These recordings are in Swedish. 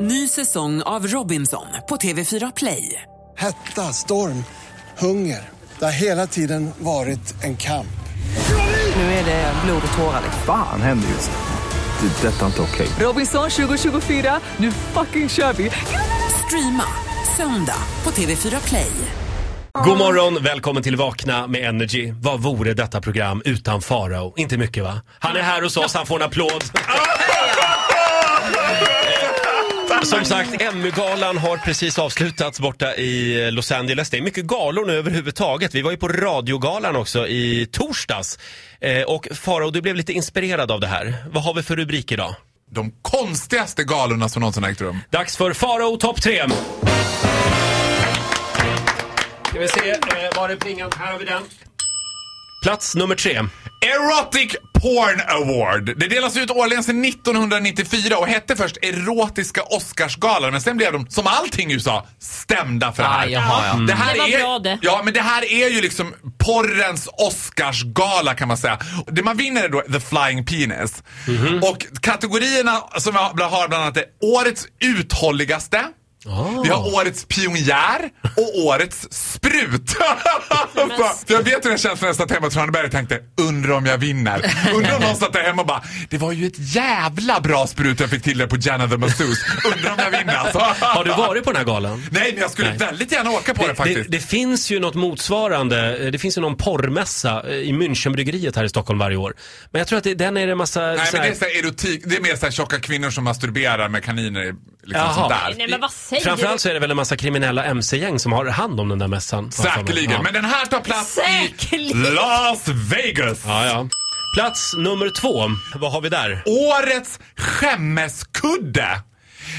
Ny säsong av Robinson på TV4 Play. Hetta, storm, hunger. Det har hela tiden varit en kamp. Nu är det blod och tårar. Fan händer just nu. Det. är Detta är inte okej. Robinson 2024, nu fucking kör vi! Streama söndag på TV4 Play. God morgon, välkommen till Vakna med Energy. Vad vore detta program utan Farao? Inte mycket va? Han är här hos oss, han får en applåd. Som sagt, Emmy-galan har precis avslutats borta i Los Angeles. Det är mycket galor nu överhuvudtaget. Vi var ju på radiogalan också i torsdags. Eh, och Farao, du blev lite inspirerad av det här. Vad har vi för rubrik idag? de konstigaste galorna som någonsin har ägt rum. Dags för Farao topp 3. Ska vi se, eh, var är plingan? Här har vi den. Plats nummer tre. Erotic Porn Award. Det delas ut årligen sedan 1994 och hette först Erotiska Oscarsgalan men sen blev de, som allting i USA, stämda för det här. Ah, jaha, ja. det, här Det var är, bra det. Ja, men det här är ju liksom porrens Oscarsgala kan man säga. Det man vinner är då The Flying Penis. Mhm. Och kategorierna som jag har bland annat är Årets uthålligaste, Ah. Vi har årets pionjär och årets sprut. För jag vet hur den känns nästan att hemma i Traneberg tänkte, undrar om jag vinner. Undrar om någon satt där hemma och bara, det var ju ett jävla bra sprut jag fick till det på Jenna the Masseuse. Undrar om jag vinner alltså. Har du varit på den här galan? Nej, men jag skulle Nej. väldigt gärna åka på det, det, faktiskt. det finns ju något motsvarande. eh, Det finns ju någon porrmässa eh, i Münchenbryggeriet här i Stockholm varje år. Men jag tror att det, den är en massa... Nej, så men här- det är så här erotik. Det är mer så här tjocka kvinnor som masturberar med kaniner i- liksom Jaha. sånt Nej, där. Nej men vad säger Framförallt så är det väl en massa kriminella mc-gäng som har hand om den där mässan. Säkerligen. Ja. Men den här tar plats i Säkerligen. Las Vegas. Ja, ja. Plats nummer två. Vad har vi där? Årets skämmeskudde.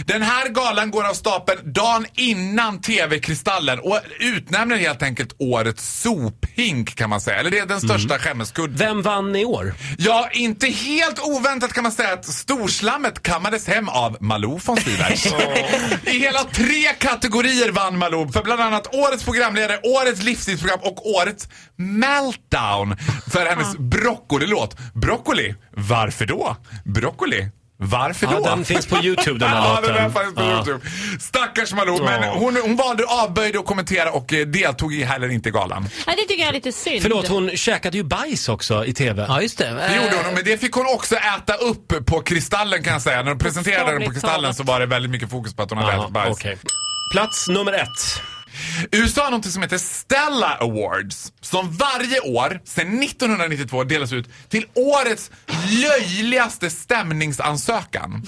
Den här galan går av stapeln dagen innan TV-kristallen och utnämner helt enkelt årets sophink kan man säga. Eller det är den största Mm. skämmeskudden. Vem vann i år? Ja, inte helt oväntat kan man säga att storslammet kammades hem av Malou von Sivers. I hela tre kategorier vann Malou för bland annat årets programledare, årets livsstilsprogram och årets meltdown för hennes broccolilåt. Broccoli, varför då? Broccoli, varför Ja, då? den finns på YouTube den här Ja, låten. den finns på Ja. YouTube. Stackars Malou, men Ja. hon, hon valde avböjde att kommentera och eh, deltog i heller inte i galan. Nej det tycker jag är lite synd. Förlåt, hon käkade ju bajs också i TV. Ja just det. Det gjorde hon, men det fick hon också äta upp på Kristallen kan jag säga. När de presenterade den på Bokstavligt Kristallen talat. så var det väldigt mycket fokus på att hon hade Aha, ätit bajs. okej. Plats nummer ett. USA har någonting som heter Stella Awards som varje år sedan 1992 delas ut till årets löjligaste stämningsansökan.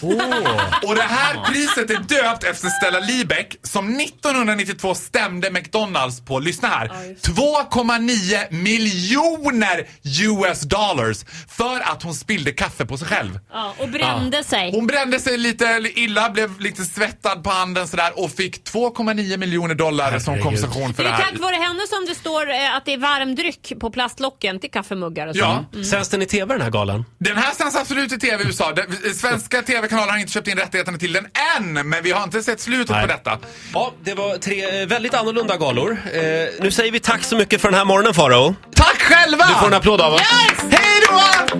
Och det här priset är döpt efter Stella Liebeck som 1992 stämde McDonalds på, lyssna här, 2,9 miljoner US dollars för att hon spillde kaffe på sig själv. Ja, och brände sig. Ah. Hon brände sig lite illa, blev lite svettad på handen sådär och fick 2,9 miljoner dollar som Herregud. kompensation för Det det är här. tack vare henne som det står eh, att det är varmdryck på plastlocken till kaffemuggar och så. Ja, Sänds den i TV den här galan? den här sänds absolut i TV i USA. Den, eh, svenska TV-kanaler har inte köpt in rättigheterna till den än, men vi har inte sett slutet Nej. på detta. Ja, det var tre eh, väldigt annorlunda galor. Eh, nu säger vi tack så mycket för den här morgonen Faro. Tack själva! Du får en applåd av oss. Hej då!